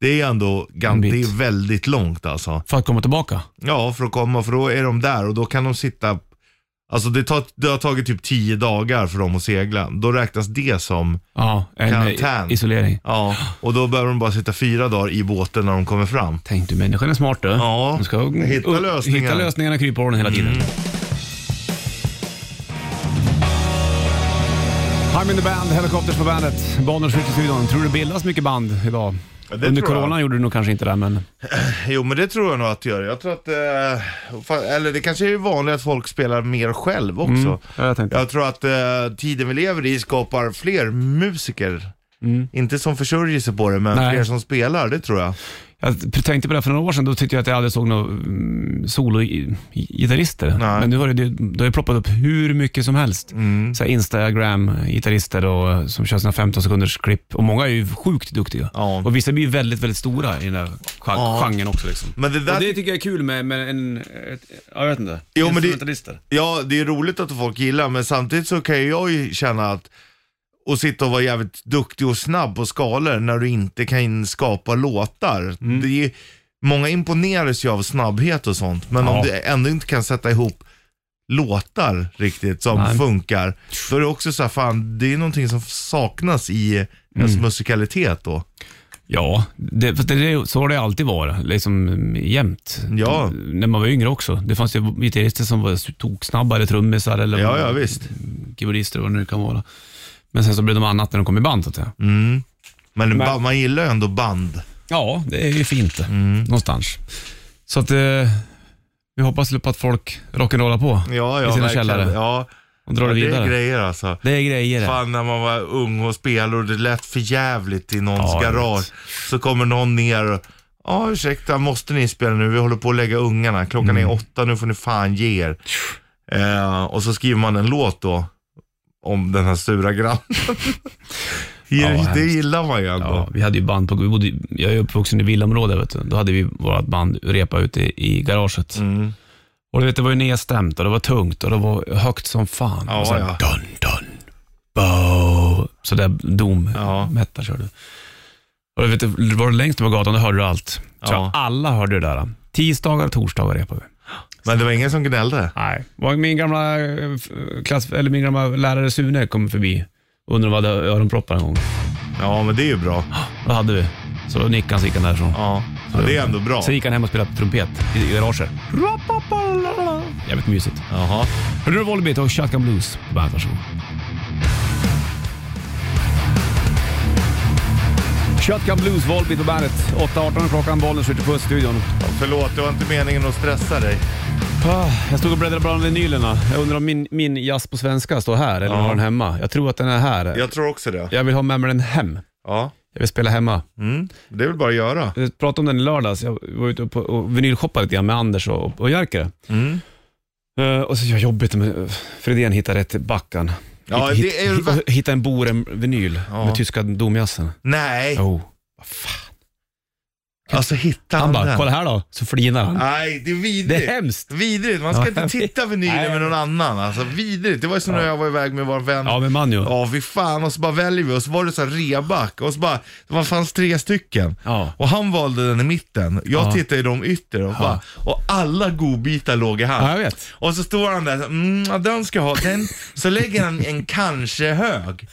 Det är ändå gan-
En bit.
det är väldigt långt alltså.
För att komma tillbaka?
Ja, för att komma, för då är de där och då kan de sitta, alltså det, tar, det har tagit typ tio dagar för dem att segla. Då räknas det som,
Ja, en
Karantän.
eh, isolering.
ja, och då behöver de bara sitta fyra dagar i båten när de kommer fram.
Tänk du, människan är smart du.
Ja,
De ska
hitta
upp-
lösningar. Mm.
Hitta lösningarna, kryphålen hela tiden. I'm in the band, Helicopters på bandet. Bonniers i studion. Tror du det bildas mycket band idag?
det
Under
tror jag.
corona gjorde du nog kanske inte det, men...
Jo men det tror jag nog att det gör. Jag tror att, eh, fan, eller det kanske är vanligt att folk spelar mer själv också.
Mm. Ja, jag tänkte.
Jag tror att eh, tiden vi lever i skapar fler musiker. Inte som försörjer sig på det, men
Mm. Nej.
fler som spelar, det tror jag.
Jag tänkte på det för några år sedan, då tyckte jag att jag aldrig såg några mm, solo-gitarrister.
Nej. Mm.
Men nu har det, det har ju ploppat upp hur mycket som helst. Så här Instagram-gitarrister och, som kör sina 15 sekunders klipp. Och många är ju sjukt duktiga.
Ja.
Och vissa blir ju väldigt, väldigt stora i den där gen- genren också. Liksom.
Men det där,
Och det tycker jag är kul med, med en... Ett, ja, jag vet inte.
Jo, men det-
Instrumentalister.
ja, det är roligt att folk gillar, men samtidigt så kan ju jag ju känna att och sitta och vara jävligt duktig och snabb på skalor när du inte kan skapa låtar.
Mm.
Det är, ju- många imponeras ju av snabbhet och sånt, men om
Ja.
du ändå inte kan sätta ihop låtar riktigt som
Nej.
funkar, då är det också så här, fan, det är någonting som saknas i
Mm.
ens musikalitet då.
Ja, det, fast det, det, så har det alltid varit. Liksom mm, jämt.
Ja.
Mm, När man var yngre också. Det fanns ju gitarrister som var toksnabbare, trummisar eller
Ja, ja visst.
keyboardister vad det nu kan vara. Men sen så blev de annat när de kom i band så att säga.
Mm. Men, ba- man gillar ju ändå band.
Ja, det är ju fint
Mm.
någonstans. Så att eh, vi hoppas på att folk rock'n'rollar på
Ja, ja,
i sina
verkligen.
källare
Ja,
och drar
ja,
det
det är
vidare.
grejer alltså.
Det är grejer det.
Fan när man var ung och spelade och det lät för jävligt i någons
Ja, jag
garage.
vet.
Så kommer någon ner och, ja ursäkta, måste ni spela nu? Vi håller på att lägga ungarna. Klockan
Mm.
är åtta, nu får ni fan ge er. Eh, och så skriver man en låt då, om den här
<laughs>
sura grannen.
vad
det
hemskt.
gillar man ju ändå.
Ja, vi hade ju band på, vi bodde, jag är uppvuxen i villaområde, vet du. då hade vi vårt band repa ute i, i garaget.
Mm.
Och du vet, det var ju nedstämt och det var tungt och det var högt som fan.
Ja,
och så här,
ja.
dun, dun, bo. Så där dom
Ja.
metal körde. Och du vet, det var det längst på gatan, då hörde du allt. Så
Ja.
alla hörde det där. Tisdagar och torsdagar repade vi.
Men det var ingen som gnällde.
Nej. Var min gamla, eh, f- klass, eller min gamla lärare Sune kom förbi och undrade om vi hade öronproppar en gång.
Ja, men det är ju bra.
Då hade vi. Så då nickade han så gick han därifrån.
Ja, ja det är ändå bra.
Sen gick han hem och spelade trumpet i i garaget. Jävligt mysigt.
Jaha.
Hörde du Volbeat och Shotgun Blues på bandet? Varsågod. Shotgun Blues, Volbeat på bandet. 8.18 klockan, bollen skjuter på studion.
Förlåt, det var inte meningen att stressa dig.
Ah, Jag stod och bläddrade bland vinylerna. Jag undrar om min, min jazz på svenska står här eller om jag har den hemma. Jag tror att den är här.
Jag tror också det.
Jag vill ha med mig den hem.
Ja.
Jag vill spela hemma.
Mm. Det är väl bara att göra.
Jag pratade om den i lördags. Jag var ute på- och vinylshoppade lite grann med Anders och, och Jerker.
Mm.
Eh, och så jag jobbigt med Fredén hittade rätt backan.
Ja,
Hitt-
det är ju
hitt-
va-
och hitta en Borem-vinyl
Ja. Eh.
med tyska domjazzen.
Nej,
Jo, vad fan.
Alltså hitta
Oh, Han bara,
den.
kolla här då. Så flinar han.
Nej, det är vidrigt.
Det är hemskt.
Vidrigt. Man ska
Ja,
inte
jag
titta vinyler
Nej.
med någon annan. Alltså vidrigt. Det var ju som när jag var iväg med vår vän.
Ja, med Manjo.
Ja, fy fan. Och så bara väljer vi och så var det så här reback och så bara, det var- fanns tre stycken.
Ja.
Och han valde den i mitten. Jag tittade i de ytter och bara, och alla godbitar låg i hand.
Ja, jag vet.
Och så står han där, så, mm, ja, den ska jag ha, den. Så lägger han en kanske hög.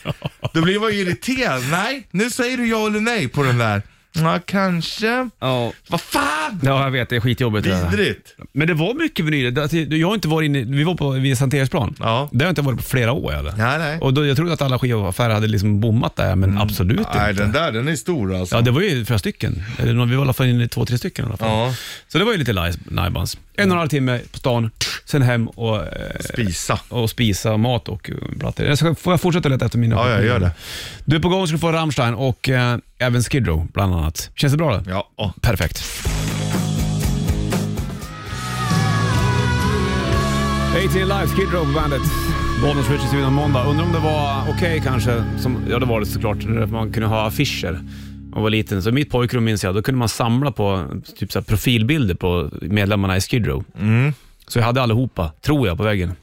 Då blir man ju irriterad. Nej, nu säger du ja eller nej på den där. Ja, kanske.
Ja.
Vad fan!
Ja, jag vet. Det är skitjobbigt. det där.
Vidrigt.
Men det var mycket vinyler. Det- alltså, Jag har inte varit inne, vi var på vid Sankt Eriksplan.
Ja.
Där har jag inte varit på flera år. Eller?
Nej, nej. Mm.
Och då, jag trodde att alla skivaffärer hade liksom bommat där, men absolut
Nej,
inte.
den där den är stor alltså.
typ Ja, det var ju flera stycken. Eller, någon- vi var i alla fall inne i två, tre stycken i alla fall.
Ja.
Så det var ju lite laj- najbans. En och en halv timme på stan, sen hem och, eh,
Spisa.
och spisa mat och eh, plattor. Jag ska, får jag fortsätta leta efter mina?
Ja, jag gör det.
Du är på gång ska du få Rammstein och eh, även Skid Row bland annat. Känns det bra då?
Ja. åh.
Perfekt. AT Live, Skid Row på bandet. Bollnäs Richie studion måndag. Undrar om det var okej kanske. Som, ja, det var det såklart. Man kunde ha affischer. när Man var liten. Så i mitt pojkrum minns jag, då kunde man samla på typ så här, profilbilder på medlemmarna i Skid Row. Så jag hade allihopa, tror jag, på väggen.
Mm.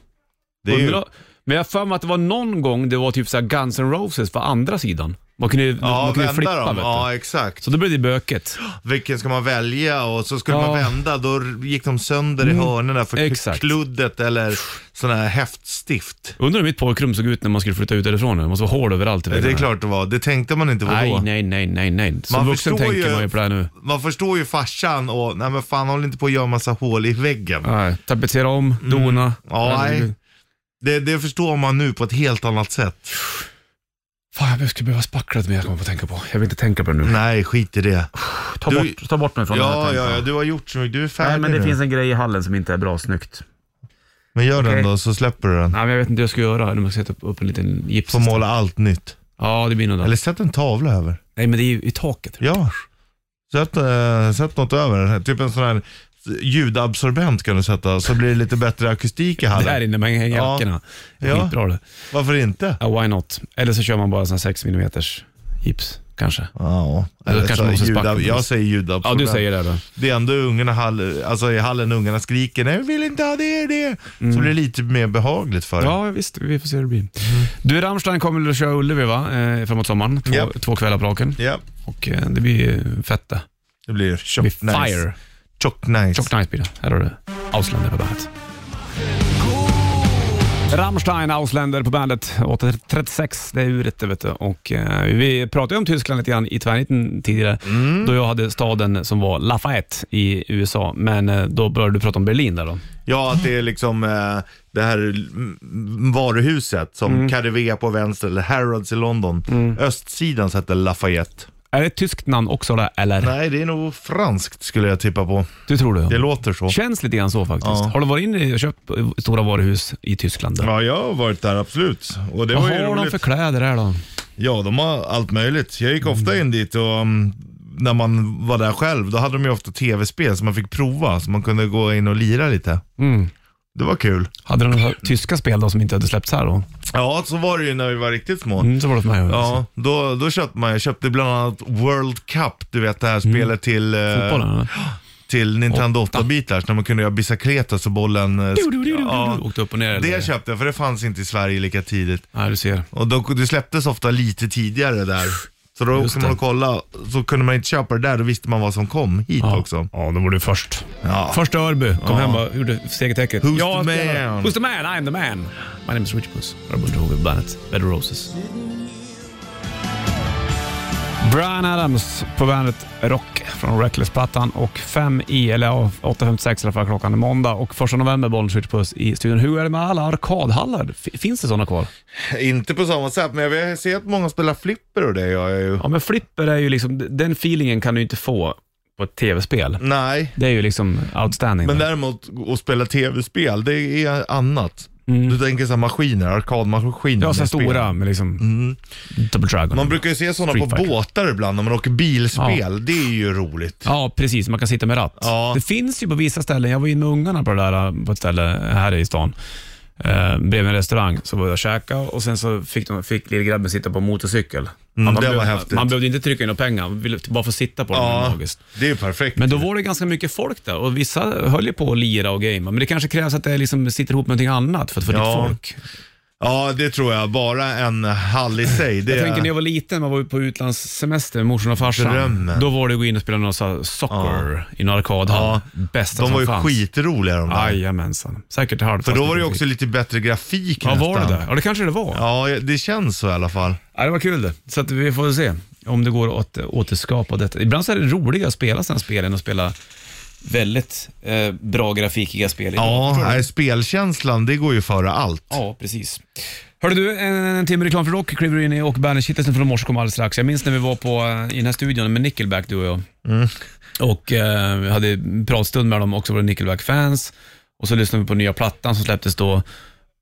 Det är ju...
Undrar- Men jag har för mig att det var någon gång det var typ så här Guns N' Roses på andra sidan. Man kunde,
Ja,
man kunde flippa
vända dem.
vet du.
Ja, exakt.
Så då blev det böket.
Vilken ska man välja? Och så skulle
Ja. Mm.
man vända, då gick de sönder i hörnorna för
exakt.
kluddet eller sån här häftstift.
Undrar hur mitt pojkrum såg ut när man skulle flytta ut därifrån. Det måste vara hål överallt. i
Det är
väggarna.
klart det var. Det tänkte man inte på
Nej,
då.
nej, nej, nej, nej. Som
Man
vuxen
förstår
tänker
ju-
man ju på det här nu.
Man förstår ju farsan och, nej men fan håll inte på att göra massa hål i väggen.
Nej, tapetsera om, dona.
Mm. Ja, nej. Det, det förstår man nu på ett helt annat sätt.
Fan, jag skulle behöva spackla lite mer, kommer jag på att tänka på. Jag vill inte tänka på det nu.
Nej, skit i det.
Ta,
Du-
bort, ta bort mig från den här
Ja,
tanken.
ja, ja, du har gjort så mycket. Du är färdig
Nej, men det
nu.
finns en grej i hallen som inte är bra snyggt.
Men gör
Okej.
den då, så släpper du den.
Nej, men jag vet inte hur jag ska göra. Eller om jag ska sätta upp en liten gips.
Får måla allt nytt.
Ja, det blir nog
Eller
det.
sätt en tavla över.
Nej, men det är ju i taket.
Ja. Sätt, eh, sätt något över. Typ en sån här ljudabsorbent kan du sätta, så blir det lite bättre akustik i
Där
hallen.
inne med
Ja.
jackorna.
Ja.
Skitbra det.
Varför inte?
Ja, why not? Eller så kör man bara sån här 6 mm gips, kanske.
Ja,
Eller kanske
så
man måste spacka på
ljudab- jag
det.
säger ljudabsorbent.
Ja, du säger det då.
Det är ändå ungarna hall- alltså i hallen ungarna skriker nej vi vill inte ha det, det. Så blir det lite mer behagligt för dem.
Mm. Ja, visst. Vi får se hur det blir. Du, Rammstein kommer att köra Ullevi va? Eh, framåt sommaren. Två,
Ja.
två kvällar på raken.
Ja,
Och eh, det blir eh, fett det.
det blir
Det
tjock
blir
nice.
fire.
Tjock nice.
Tjock nice blir det. Här har du Auslander på bandet. Rammstein, Ausländer på bandet. 8.36, det är uret det vet du. Och, eh, vi pratade ju om Tyskland lite grann i tvärniten tidigare, då jag hade staden som var Lafayette i USA. Men eh, då började du prata om Berlin där då.
Ja, att det är liksom eh, det här mm, varuhuset som Carrevea på vänster, eller Harrods i London. Östsidan så heter Lafayette.
Är det ett tyskt namn också där, eller?
Nej, det är nog franskt skulle jag tippa på.
Du tror det?
Det låter så.
Känns lite grann så faktiskt.
Ja.
Har du varit inne och köpt på stora varuhus i Tyskland? då?
Ja, jag har varit där absolut. Och det
Vad
var ju
har de
roligt.
för kläder där då?
Ja, de har allt möjligt. Jag gick ofta in dit och mm, när man var där själv, då hade de ju ofta tv-spel som man fick prova, så man kunde gå in och lira lite. Det var kul.
Hade de
<clears throat>
några tyska spel då som inte hade släppts här då?
Ja, så var det ju när vi var riktigt små.
Mm, så var det för mig.
Ja, då, då köpte man, jag köpte bland annat World Cup, du vet det här spelet till, eh,
Mm. Fotbollen, eller?
till Nintendo 8-bitar, så när man kunde göra bicicletas och bollen... eh,
Du, du, du, du,
Ja.
du, Åkte upp och ner. eller?
Det köpte jag, för det fanns inte i Sverige lika tidigt.
Ja, du ser.
Och då, det släpptes ofta lite tidigare där. Så då
Just
åkte man
det.
och kolla, så kunde man inte köpa det där, då visste man vad som kom hit också.
Ja, då var du först.
Ja.
Först till Örby. Kom hem och gjorde segertecknet.
Who's
Jag
the
spelar.
man?
Who's the man? I'm the man. My name is Rich Puss. Urban Drove i bandet. Bed of Roses. Brian Adams på bandet Rock från Reckless-plattan och 5 i, eller ja, 8.56 i alla fall klockan är måndag och 1 november Bollnäs Rich Puss i studion. Hur är det med alla arkadhallar? F- Finns det sådana kvar?
Inte på samma sätt, men jag ser att många spelar flipper och det gör jag ju.
Ja, men flipper är ju liksom, den feelingen kan du inte få på ett tv-spel.
Nej,
Det är ju liksom outstanding.
men
där.
däremot att spela tv-spel, det är annat. Du tänker så här maskiner, arkadmaskiner.
Mm. Ja, så här
med spel.
stora med liksom Double Dragon.
Mm. Man brukar ju se sådana
Street
på
Fighter.
båtar ibland när man åker bilspel. Det är ju roligt.
Ja, precis. Man kan sitta med ratt.
Ja.
Det finns ju på vissa ställen. Jag var inne med ungarna på det där på ett ställe här i stan. eh, bredvid en restaurang. Så var jag och käkade och sen så fick, de, fick lillgrabben sitta på en motorcykel. man,
Mm, det var
behövde-
häftigt.
man behövde inte trycka in några pengar, man ville bara få sitta på den. det var
Ja,
magiskt.
det är perfekt.
Men då var det ganska mycket folk där och vissa höll ju på att lira och gamea. Men det kanske krävs att det liksom sitter ihop med någonting annat för att få
Ja.
dit folk.
Ja, det tror jag. Bara en hall i sig. Det
Jag tänker
är...
när jag var liten, man var ute på utlandssemester med morsan och farsan.
Drömmen.
Då var det att gå in och spela någon så här soccer i någon arkadhall.
Ja.
Bästa
De
som
var ju
fanns.
skitroliga de där.
Jajamensan. Säkert halvt.
För då var det ju också lite bättre grafik
Ja,
nästan.
var det där? Ja, det kanske det var. Ja.
Ja, det känns så i alla fall.
det var kul det. Så att vi får se om det går att återskapa detta. Ibland så är det roligare att spela sådana spel än att spela väldigt eh, bra grafikiga spel.
Ja, nej, spelkänslan det går ju före allt.
Ja, precis. Hörde du, en, en timme reklam för rock kliver du in i och bandage-kittelsen från morse kommer alldeles strax. Jag minns när vi var på, eh, i den här studion med Nickelback, du och jag. Och eh, vi hade pratstund med dem också, våra Nickelback-fans. Och så lyssnade vi på nya plattan som släpptes då.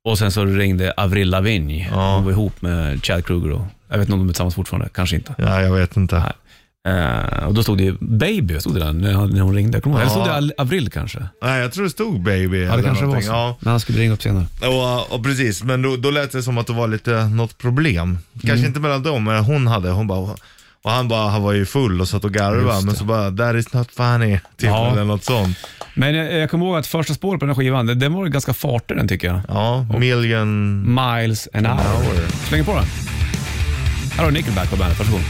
Och sen så ringde Avril Lavigne. Hon var ihop med Chad Kruger då. Jag vet inte om de är tillsammans fortfarande, kanske inte.
Ja, jag vet inte. Nej,
Eh, och då stod det ju Baby, stod det där när hon, när hon ringde. Kommer du ihåg? Eller stod
Ja.
det Al- Avril kanske?
jag tror det stod baby
Ja, det
eller
kanske var
någonting.
så. Men han skulle ringa upp senare.
Ja, och, och precis. Men då, då lät det som att det var lite något problem. Kanske inte mellan dem, men hon hade. Hon bara, och han bara, han var ju full och satt och garvade, men så bara, that is not funny. Typ,
Ja.
eller något sånt.
Men jag, jag kommer ihåg att första spåret på den här skivan, den, den var ju ganska fartig den tycker jag.
Ja, million...
Miles an hour. Släng på den. Här har du Nickelback på bandet, varsågod.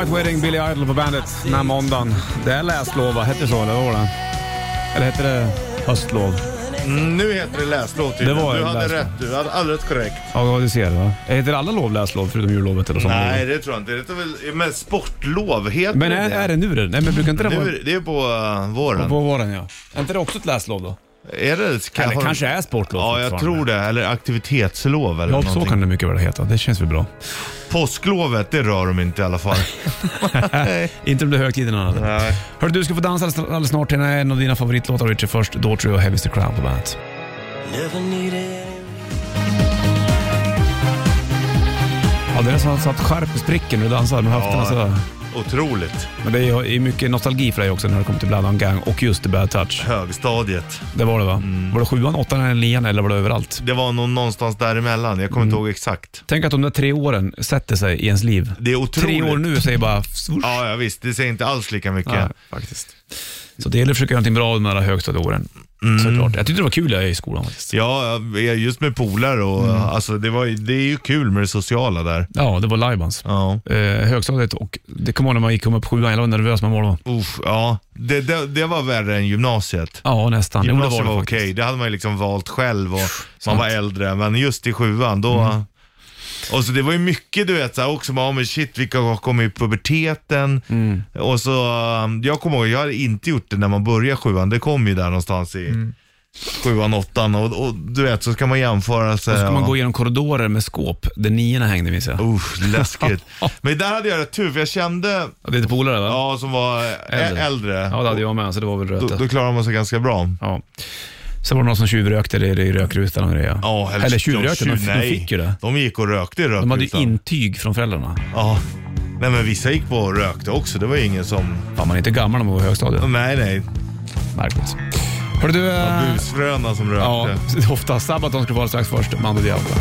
White Wedding, Billy Idol på bandet den här måndagen. Det är läslov va? Hette det så eller vad var det? Eller hette det höstlov?
Mm, nu heter det läslåt typ.
Det var
Du
en
hade
läslåt.
rätt du, hade alldeles korrekt.
Ja, du ser va? Heter alla lov läslov förutom jullovet eller sommarlovet?
Nej, det tror jag inte. Det är väl, men sportlov, heter
Men
det
är,
det?
är det nu det? Nej men brukar inte det
Nu,
vara...
är- det är på eh, våren.
På våren ja. Är inte det också ett läslov då?
Är det? Kan,
Eller
har-
kanske är sportlov
Ja, jag
fortfarande.
tror det. Eller aktivitetslov eller
Ja, så
någonting.
kan det mycket väl heta. Det känns väl bra.
Påsklovet, det rör de inte i alla <laughs> fall.
<laughs> Inte om det är högtiden eller annat.
Nej.
Hörru, du ska få dansa alldeles- alldeles snart till en av dina favoritlåtar, Richard. Först Daughtry och Heavy is the Crown på bandet. Ja, det är nästan så att skärp spricker när du dansar med höfterna
Ja.
sådär.
Otroligt.
Men det är ju mycket nostalgi för dig också när det kommer till Blood on Gang och just The Bad Touch.
Högstadiet.
Det var det va? Var det sjuan, åttan eller nian eller var det överallt?
Det var nog någonstans däremellan. Jag kommer
Mm.
inte ihåg exakt.
Tänk att de där tre åren sätter sig i ens liv.
Det är otroligt.
Tre år nu säger bara swoosh.
Ja, ja visst. Det säger inte alls lika mycket.
Nej, faktiskt. Så det gäller att försöka göra någonting bra under de här högstadieåren. Såklart. Jag tyckte det var kul jag i skolan faktiskt.
Ja, jag är just med polare och
Mm.
alltså, det, var, ju- det är ju kul med det sociala där.
Ja, det var lajbans.
Ja.
Eh, högstadiet och det kom när man gick kom upp sjuan. Jag var nervös man var då.
Uff, ja. Det, det, det var värre än gymnasiet.
Ja, nästan. Jo, det
Gymnasiet var,
det
okej,
faktiskt.
det hade man ju liksom valt själv och man var äldre. Men just i sjuan, då...
Mm.
Och så det var ju mycket du vet så här, också, man, men shit vilka har kommit i puberteten.
Mm.
Och så, um, jag kommer ihåg, jag hade inte gjort det när man började sjuan, det kom ju där någonstans i
Mm.
sjuan, åttan och, och du vet så ska man jämföra sig.
Då ska man
och-
gå igenom korridorer med skåp där niorna hängde minns jag.
Usch,
<laughs>
läskigt. men där hade jag rätt tur för jag kände,
Ja, Det är polare va?
ja som var ä-
Äldre.
äldre,
ja, det hade jag med så det var väl
då,
rötet.
då klarade man sig ganska bra.
Ja. Sen var det någon som tjuvrökte det i rökrutan och grejer.
Ja,
Eller tjuvrökte, de, de
nej.
fick ju det.
De gick och rökte i rökrutan.
De hade ju intyg från föräldrarna.
Ja. Nej men vissa gick på och rökte också. Det var ju ingen som...
Fan, man är inte gammal när man var i högstadiet.
Nej nej.
Märkligt. Hörru du... eh,
Busfröna som rökte.
Ja, ofta. Sabaton skulle vara strax först, Mando Diablo.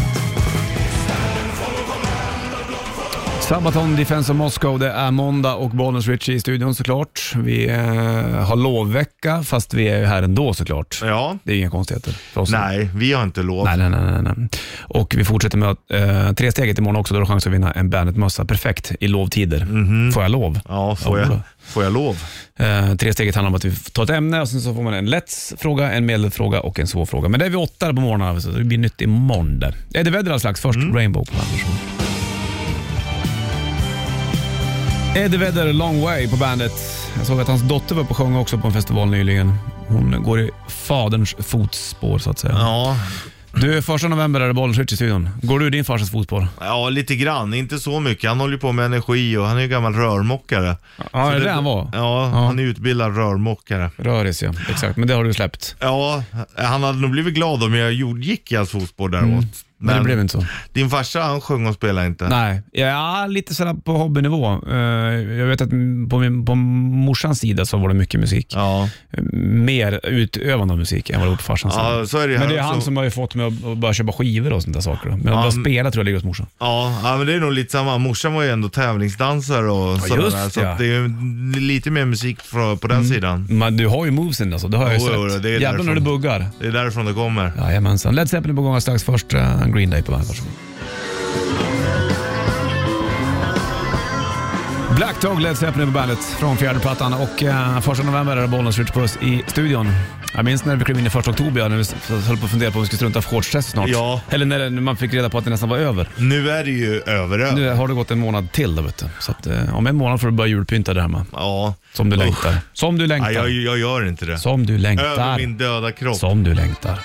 Sabaton, Defense of Moscow. Det är måndag och Bollnäs Richie i studion såklart. Vi eh, har lovvecka, fast vi är ju här ändå såklart.
Ja.
Det är inga konstigheter för oss.
Nej, vi har inte lov.
Nej, nej, nej, nej, nej. Och vi fortsätter med eh, tre steget imorgon också. Då har du chans att vinna en Bandet-mössa. Perfekt i lovtider. Får jag lov?
Mhm. Ja, får,
Ja,
jag,
då.
får jag lov?
Eh, tre steget handlar om att vi tar ett ämne och sen så får man en lätt fråga, en medelfråga och en svår fråga. Men det är vi åtta på morgonen, så det blir nytt imorgon. där. Eddie Vedder alldeles strax. Först Rainbow på bandet. Eddie Vedder, Long Way på bandet. Jag såg att hans dotter var på och sjöng också på en festival nyligen. Hon går i faderns fotspår så att säga.
Ja.
Du, första november är det bollenskytt i studion. Går du i din farsas fotspår?
ja, lite grann. Inte så mycket. Han håller ju på med energi och han är ju gammal rörmokare.
Ja,
Så
det är det han var.
Ja, han är utbildad rörmokare.
Röris ja, exakt. Men det har du släppt.
Ja, han hade nog blivit glad om jag gjorde- gick i hans fotspår däråt.
Mm. men det blev inte så.
Din farsa han sjöng och spelade inte.
Nej, ja, lite sådär på hobbynivå. Eh, Jag vet att på, min, på morsans sida så var det mycket musik. Eh,
Ja.
Mer utövande av musik än vad det var på farsans
Ja,
sida.
så är det ju
Men
här
det är han
också.
som har ju fått mig att att börja köpa skivor och sånt där saker. då. Men att börja spela tror jag ligger hos morsan.
Ja, ja, men det är nog lite samma. Morsan var ju ändå tävlingsdansare och sådär.
just
där, så
ja. Mm.
att det är ju lite mer musik från, på den sidan.
Men du har ju movesen alltså, det har jag ju
Jo, jo,
sett.
det är
Jävlar när
därifrån.
du buggar.
Det är därifrån det kommer.
Jajamensan. Led Zeppelin på gång alldeles strax. Först eh, Green Day på bandet. Varsågod. Black Dog, Led Zeppelin på bandet från fjärde plattan och eh, första november är det Bollnäs Ritch Puss i studion. Jag minns när vi klev in i första oktober, när vi s- höll på att fundera på om vi skulle strunta i shortstest snart.
Ja.
Eller när, det- när man fick reda på att det nästan var över.
Nu är det ju överallt.
Nu har det gått en månad till då, vet du. Så att, eh, om en månad får du börja julpynta där hemma.
Ja.
Som du
Usch.
längtar. Som du längtar.
Nej, jag, jag gör inte det.
Som du
Över
längtar.
min döda kropp.
Som du längtar.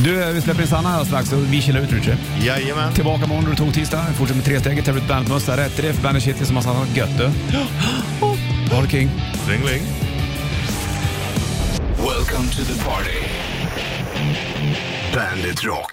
Du, eh, vi släpper in Sanna här strax och vi kilar ut Richard.
Jajamän.
Tillbaka imorgon när du tog tisdag. Fortsätter med tresteget, tävlar ut bandmössa, rätt riff, bandet shit, som massa annat gött <gasps> du. Ha det king.
Ringling.
Welcome to the party. Bandit Rock.